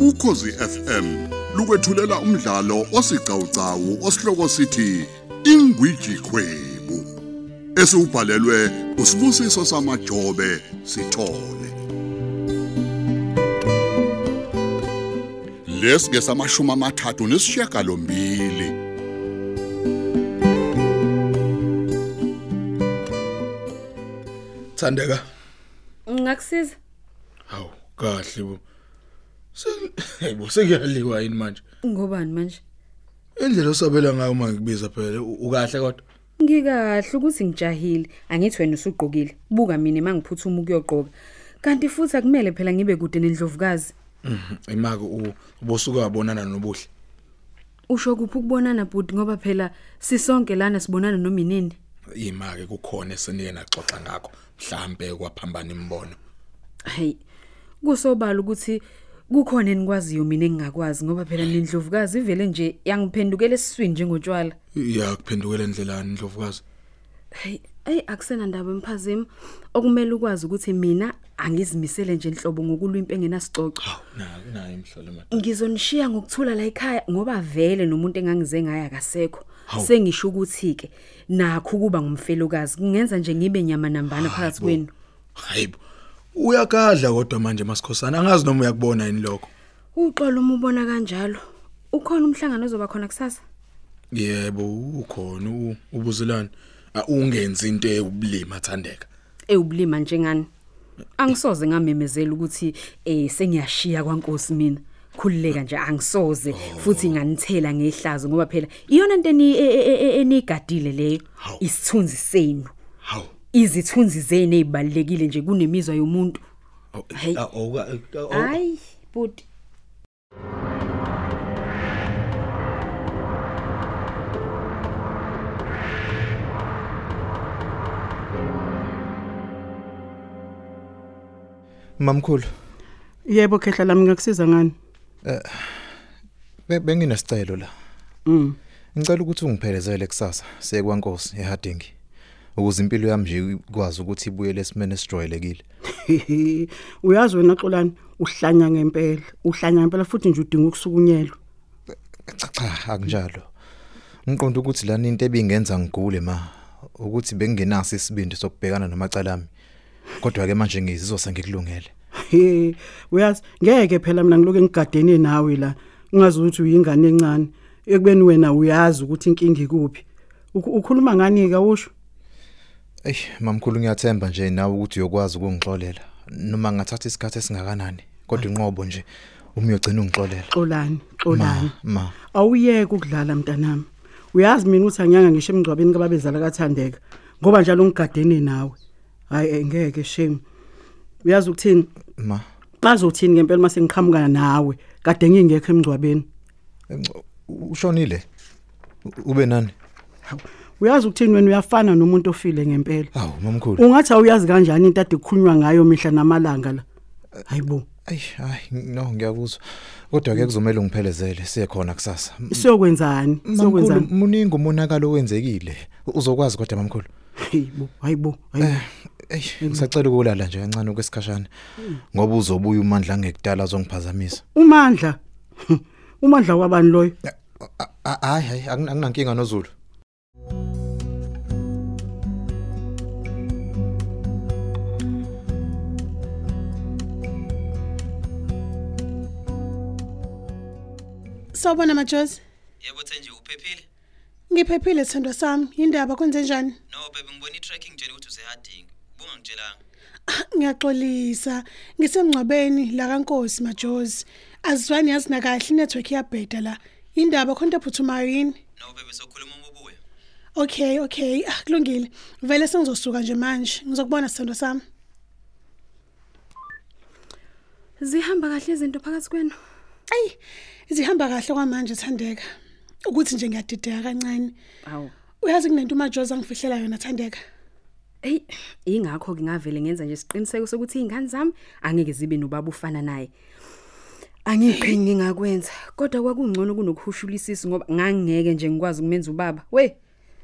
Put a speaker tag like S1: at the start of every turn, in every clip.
S1: ukhozi FM lukwethulela umdlalo osiqhawqhawo osihloko sithi ingwiji khwebu esiubhalelwe usibusiso samajobe sithole lesike samashuma amathathu nesishiyagalombili
S2: Thandeka.
S3: Ngakusiza.
S2: Hawu, kahle bo. Sebo sekuyaliwa yini manje?
S3: Ngobani manje?
S2: Indlela osabela ngayo uma ngikubiza phela u- ukahle kodwa.
S3: Ngikahle ukuthi ngijahile, angithi wena usugqokile. Buka mina mangiphuthuma ukuyogqoka. Kanti futhi akumele phela ngibe kude nendlovukazi.
S2: Imake u- ubosuka wabonana nobuhle.
S3: Usho kuphi ukubonana budi ngoba phela sisonke lana sibonana noma inini.
S2: Imake kukhona esenike naxoxa ngakho mhlambe kwaphambana imbono.
S3: Hayi. Kusobala ukuthi kukhona enikwaziyo mina engingakwazi ngoba phela nendlovukazi ivele nje yangiphendukela esiswini njengotshwala.
S2: Iyakuphendukela endlelani Ndlovukazi.
S3: Hayi, ayi akusena ndaba emphazimi. Okumele ukwazi ukuthi mina angizimisele nje inhlobo ngokulwimpe engenasicoco.
S2: Hawu, nayo nayo imhlolo madodana.
S3: ngizonishiya ngokuthula la ekhaya ngoba vele nomuntu engangize ngaya akasekho
S2: Hawu.
S3: sengisho ukuthi ke nakho kuba ngumfelokazi kungenza nje ngibe nyama nambana phakathi
S2: bo.
S3: kwenu
S2: Hayibo. Uyagadla kodwa manje masikhosana angazi noma uyakubona yini lokho.
S3: uqala uma ubona kanjalo ukhona umhlangano ozoba khona kusasa
S2: Yebo, ukhona u- ubuzelani. Ah, Ungenzi into eyubulima Thandeka.
S3: ewubulima njengani angisoze ngamemezela ukuthi eh sengiyashiya kwankosi mina khulileka nje angisoze
S2: Oh.
S3: futhi nganithela ngehlazo ngoba phela iyona into eni- e- e- e- e- eniyigadile leyo
S2: Hawu.
S3: isithunzi senu
S2: Hawu.
S3: izithunzi zene ezibalekile nje kunemizwa yomuntu
S2: Oh,
S3: Hey.
S2: ah, oh, ah, oh.
S3: hayi budi
S4: Mamkhulu,
S5: Yebo khehla lami ngakusiza ngani?
S4: be- benginesicelo la.
S5: Mm.
S4: Ngicela ukuthi ungiphelezele kusasa siye kwaNkosi eHarding. Ukuze impilo yami nje ikwazi ukuthi ibuye lesimene sijwayelekile.
S5: Uyazi wena xolani uhlanya ngempela, uhlanya ngempela futhi nje udinga ukusukunyelwa.
S4: Cha cha akunjalo. Ngiqonda ukuthi lana into ebingenza ngigule ma ukuthi bengingenaso isibindi sokubhekana namacala ami. Kodwa ke manje ngizizwa sengikulungele.
S5: He, uyazi ngeke phela mina ngiloke ngigadene nawe la. Ungazi ukuthi uyingane encane. Ekubeni wena uyazi ukuthi inkingi kuphi. Uk- Ukhuluma ngani ke usho?
S4: Ey, mamkhulu ngiyathemba nje nawe ukuthi uyokwazi ukungixolela noma ngathatha isikhathi esingakanani. Kodwa inqobo nje umuyogcina ungixolela.
S5: Xolani,
S4: Ma,
S5: xolani.
S4: ma.
S5: Awuyeke ukudlala mntanami. Uyazi mina ukuthi anyanga ngisho emgcwabeni kababezala kaThandeka ngoba njalo ngigadene nawe. Hayi eh, ngeke shame. Uyazi ukuthini?
S4: Ma.
S5: bazothini ngempela mase ngiqhamuka nawe kade ngingekho emgcwabeni
S4: Emgco- ushonile U- ube nani
S5: uyazi ukuthini wena uyafana nomuntu ofile ngempela
S4: hawu mamkhulu
S5: ungathi awuyazi kanjani into ade kukhulunywa ngayo mihla namalanga la hayibo
S4: ayi hayi no ngiyakuzwa kodwa ke kuzomela ungiphelezele siye khona kusasa M-
S5: siyokwenzani
S4: mamkhulu
S5: siyokwenzani
S4: muningi umonakalo owenzekile U- uzokwazi kodwa mamkhulu
S5: hayibo hayibo hayibo
S6: Eh.
S4: eyi ngisacela ukulala nje kancane okwesikhashana ngoba uzobuya umandla angekudala azongiphazamisa
S5: Mm. umandla umandla wabani loyo
S4: A- a- hayi hayi angin- anginankinga nozulu
S6: Sawubona majosi.
S7: Yebo Thenji uphephile?
S6: Ngiphephile sithandwa sami. Yindaba kwenze njani?
S7: No babe ngibona i-tracking njene ukuthi useharding. Bungangitshelanga.
S6: Ah, Ngiyaxolisa. Ngisemgcwabeni la kaNkosi majosi. Azizwani yazi na kahle inetwork iyabheda la. Indaba khona ephuthumayo yini?
S7: No babe sokhuluma uma ubuya.
S6: Okay, okay. Ah, kulungile. Vele sengizosuka nje manje. Ngizokubona sithandwa sami.
S3: zihamba kahle izinto phakathi kwenu
S6: Ayi, izihamba kahle kwamanje Thandeka. Ukuthi nje ngiyadideka kancane.
S3: awu
S6: Uyazi kunento majosi angifihlela yona Thandeka.
S3: hey ingakho ke ngavele ngenza nje isiqiniseko sokuthi izingane zami angeke zibe nobaba ufana naye angiqhingi ngakwenza kodwa kwakungcono kunokuhushulisisa ngoba ngangeke nje ngikwazi ukumenza ubaba we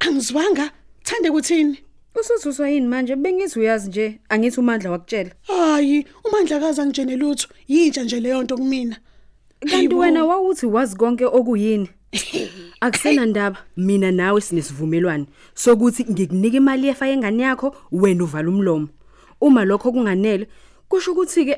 S6: Angizwanga. Thande kuthini?
S3: usuzuzwa yini manje bengithi uyazi nje angithi umandla wakutshela
S6: Hayi, uMandlakazi angijenelutho. Yintsha nje leyo nto kumina.
S3: kanti wena wawuthi wazi konke okuyini akusena ndaba mina nawe sinesivumelwano sokuthi ngikunika imali yefa yengane yakho wena uvala umlomo uma lokho kunganele kusho ukuthi ke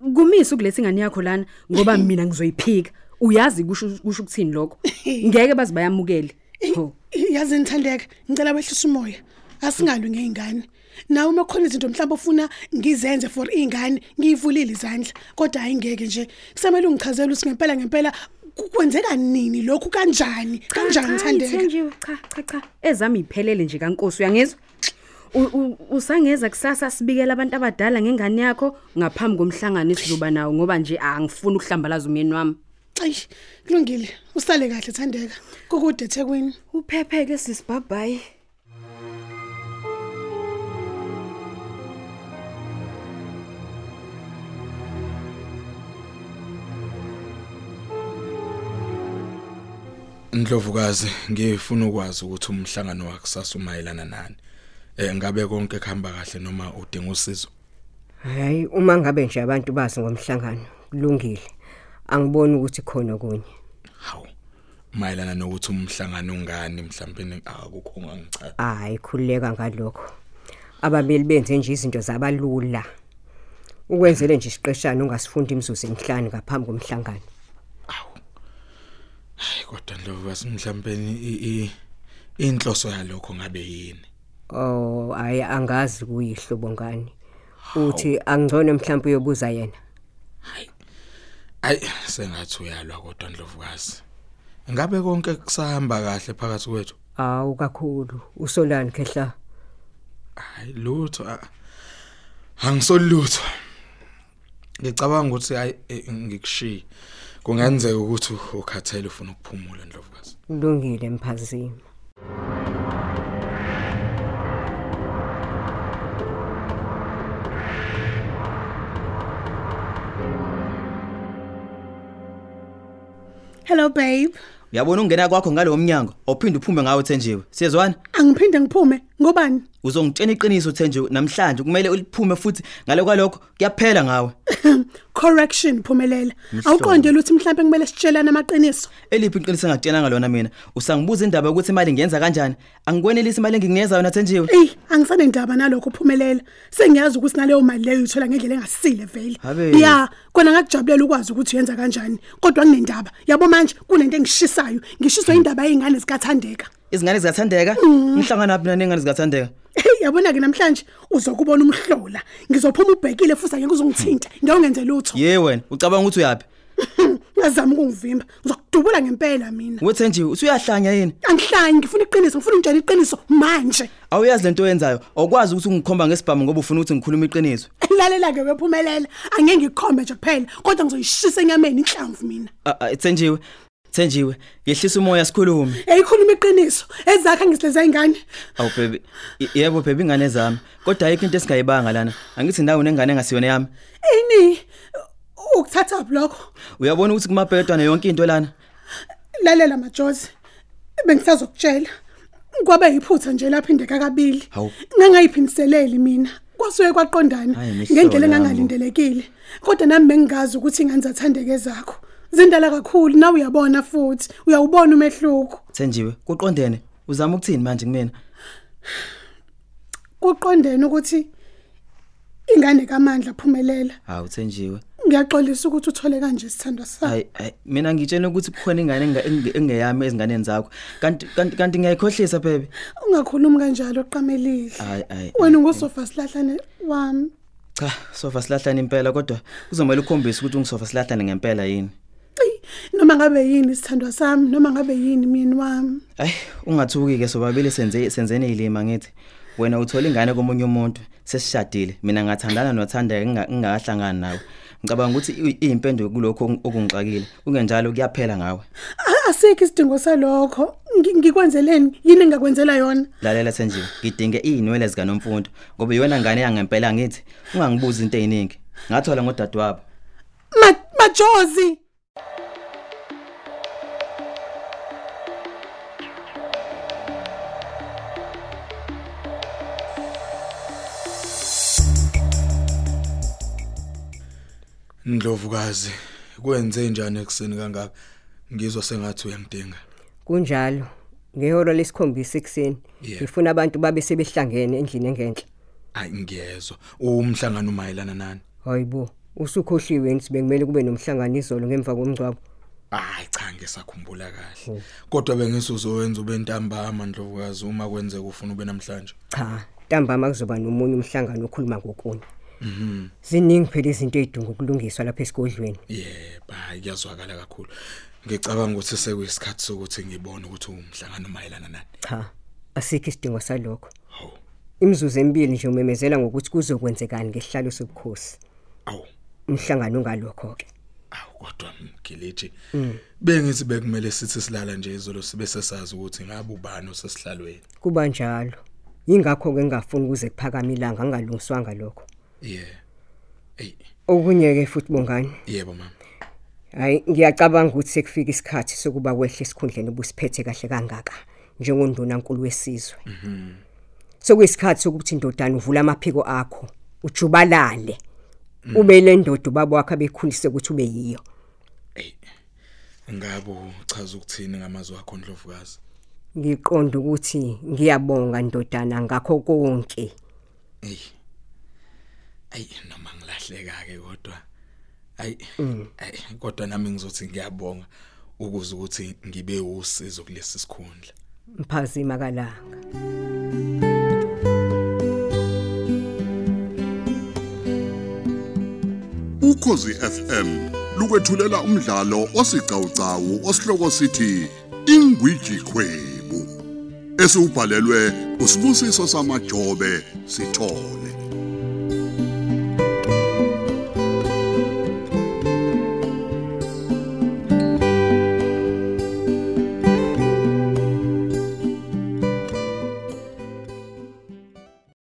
S3: kumisa ukuletha ingane yakho lana ngoba mina ngizoyiphika uyazi kusho kusho ukuthini lokho ngeke bazibayamukele ho
S6: yazi nithandeka ngicela wehlisa umoya asingalwi ngeingane nawe uma khona izinto mhlawumbe ofuna ngizenze for ingane ngiyivulile izandla kodwa hayi ngeke nje kusamele ungichazele ukuthi ngempela ngempela ku- kwenzeka nini lokhu kanjani kanjani thandeka
S3: Thank you. Cha cha cha. Ezami iphelele nje kaNkosi uyangizwa? U- u- Usangeza kusasa sibikele abantu abadala ngengane yakho ngaphambi komhlangano esizoba nawo ngoba nje angifuni ukuhlambalaza umyeni wami.
S6: ayi kulungile usale kahle thandeka kukude ethekwini
S3: Uphepheke sisibhabhayi.
S2: Ndlovukazi ngifuna ukwazi ukuthi umhlangano wakusasa umayelana nani. Eh ngabe konke kuhamba kahle noma udinga usizo.
S8: Hayi uma ngabe nje abantu bazi ngomhlangano kulungile. Angiboni ukuthi khona okunye.
S2: Hawu. Mayelana nokuthi umhlangano ungani mhlawumbe akukho ngangichaza.
S8: Hayi khulileka ngalokho. Abameli benze nje izinto zabalula. Ukwenzele nje isiqeshana ungasifunda imizuzu emihlanu ngaphambi komhlangano.
S2: Hayi kodwa Ndlovukazi mhlawumbe i- i- inhloso yalokho ngabe yini?
S8: Oh hayi angazi kuyihlobo ngani. Uthi angcono mhlawumbe uyobuza yena.
S2: Ayi sengathi uyalwa kodwa Ndlovukazi. Ngabe konke kusahamba kahle phakathi kwethu?
S8: Awu kakhulu usolani kehla.
S2: Hayi lutho a- angisolutho. Ngicabanga ukuthi hayi eh, ngikushiye. Kungenzeka ukuthi ukhathele ufuna ukuphumula Ndlovukazi.
S8: Kulungile mphazimi.
S6: hello babe
S7: uyabona ukungena kwakho ngalowo mnyango awuphinde uphume ngawo thenjiwe siyezwana
S6: angiphinde ngiphume ngobani
S7: uzongitshena iqiniso thenjiwe namhlanje kumele uliphume futhi ngale kwalokho kuyaphela ngawe
S6: correction phumelela awuqondele ukuthi mhlawumbe kumele sitshelane amaqiniso
S7: eliphi iqiniso engakutshelanga lona mina usangibuza indaba yokuthi imali ngiyenza kanjani angikwenelisi imali engikunikeza yona thenjiwe
S6: eyi angisanendaba nalokho phumelela sengiyazi ukuthi naleyo mali leyo uyithola ngendlela engasile vele
S7: Habe.
S6: ya kona ngakujabulela ukwazi ukuthi uyenza kanjani kodwa kunendaba yabo manje kunento engishisayo ngishiswa indaba yey'ngane zikathandeka
S7: izingane zikathandeka
S6: Mm.
S7: nihlangana phi nani ingane zikathandeka
S6: Eyi, yabona-ke namhlanje uzokubona umhlola ngizophuma ubhekile futhi angeke uzongithinta ngewungenze lutho
S7: ye wena ucabanga ukuthi uyaphi
S6: ungazama ukungivimba ngizokudubula ngempela mina
S7: wethenjiwe usuyahlanya yini
S6: angihlayi ngifuna iqiniso ngifuna ungitshela iqiniso manje
S7: awuyazi lento oyenzayo awukwazi ukuthi ungikhomba ngesibhamu ngoba ufuna ukuthi ngikhulume iqiniso
S6: lalela-ke wephumelela angeke ngikhombe nje kuphela kodwa ngizoyishisa enyameni inhlamvu mina
S7: Ah, ah, thenjiwe thenjiwe yehlisa umoya sikhulume
S6: eyikhuluma iqiniso ezakhe ngisileza ingane
S7: awu bhebe y- yebo bhebe ingane zami kodwa ayikho into esingayibanga lana angithi nawe nengane engasiyona yami
S6: ini ukuthatha blokho
S7: uyabona ukuthi kumabhedwana yonke into lana
S6: lalela majozi bengisazokutshela kwabe yiphutha nje laphindeka kabili
S7: Hawu.
S6: ngangayiphindiseleli mina kwasuke kwaqondana
S7: Hhayi, mihlolo
S6: ngendlela
S7: yami.
S6: engangalindelekile kodwa nami bengingazi ukuthi ingane zathandeke zakho zindala kakhulu nawe uyabona futhi uyawubona umehluko
S7: thenjiwe kuqondene uzama ukuthini manje kumina
S6: kuqondene ukuthi ingane kamandla phumelela
S7: hawu thenjiwe
S6: ngiyaxolisa ukuthi uthole kanje isithandwa sayo
S7: hayi hayi mina ngitshela ukuthi kukhona ingane enga- enge- engeyami ezinganeni zakho kanti kanti kanti ngiyayikhohlisa bhebe
S6: ungakhulumi kanjalo oqamelile
S7: Hayi, hayi,
S6: wena ungusofa silahlane wami
S7: cha sofa silahlane impela kodwa kuzomele ukhombise ukuthi ungisofa silahlane ngempela yini
S6: Eyi, noma ngabe yini isithandwa sami noma ngabe yini mini wami
S7: hayi ungathuki-ke sobabili senze senzeni iy'lima ngithi wena uthole ingane komunye umuntu sesishadile mina ngathandana nothandeka nginga- ngingakahlangani nawe ngicabanga ukuthi i- iyimpendulo kulokhu oku- okungixakile kungenjalo kuyaphela ngawe
S6: A- asikho isidingo salokho Ngi- ngikwenzeleni yini engingakwenzela yona
S7: lalela senjiwe ngidinge iy'nwele zikanomfundo ngoba iyona ngane yangempela ngithi ungangibuzi into ey'ningi ngathola ngodadewabo
S6: Ma- majozi
S2: Ndlovukazi kwenze njani ekseni kangaka ngizwa sengathi uyangidinga
S3: kunjalo ngehora lesikhombisa ekuseni
S2: Yeah.
S3: ngifuna abantu babe sebehlangene endlini engenhla
S2: ayi ngiyezwa umhlangano umayelana nani
S3: hayibo usukhohliwe yini sibekumele kube nomhlangano izolo ngemva komgcwabo
S2: hayi cha ngisakhumbula kahle kodwa bengisuzowenza ubentambama ndlovukazi uma kwenzeka ufuna ube namhlanje
S3: cha ntambama kuzoba nomunye umhlangano okhuluma ngokunye ziningi phela izinto ey'dinga ukulungiswa lapha esigodlweni
S2: yebo hayi kuyazwakala kakhulu ngicabanga ukuthi sekuyisikhathi sokuthi ngibone ukuthi umhlangano umayelana nani
S3: cha asikho isidingo salokho
S2: hawu
S3: imizuzu emibili nje umemezela ngokuthi kuzokwenzekani ngesihlalo sobukhosi
S2: awu
S3: umhlangano ungalokho-ke
S2: awu kodwa mgiliji bengithi bekumele sithi silala nje izolo sibe sesazi ukuthi ngabe ubani osesihlalweni
S3: kuba njalo yingakho-ke ngingafuni ukuze kuphakame ilanga ngingalungiswanga lokho
S2: yeah ey
S3: okunye-ke futhi bongani
S2: yebo mama
S3: hhayi ngiyacabanga ukuthi sekufika isikhathi sokuba wehle esikhundleni ubusiphethe kahle kangaka njengondunankulu wesizwe sokuyisikhathi sokuthi indodana uvule amaphiko akho ujubalale ube le ndoda ubaba wakho abekhulise ukuthi ube yiyo
S2: ngabe uchaza ukuthini ngamazwi akho ndlovukazi
S3: ngiqonda ukuthi ngiyabonga ndodana ngakho konke
S2: Ey. Ay noma ngilahleka ke kodwa. Ay ay kodwa nami ngizothi ngiyabonga ukuze ukuthi ngibe usizo kulesi sikhundla.
S3: mphazima kalanga
S1: ukhozi FM lukwethulela umdlalo osiqhawqhawo osihloko sithi ingwiji khwebu esiubhalelwe usibusiso samajobe sithole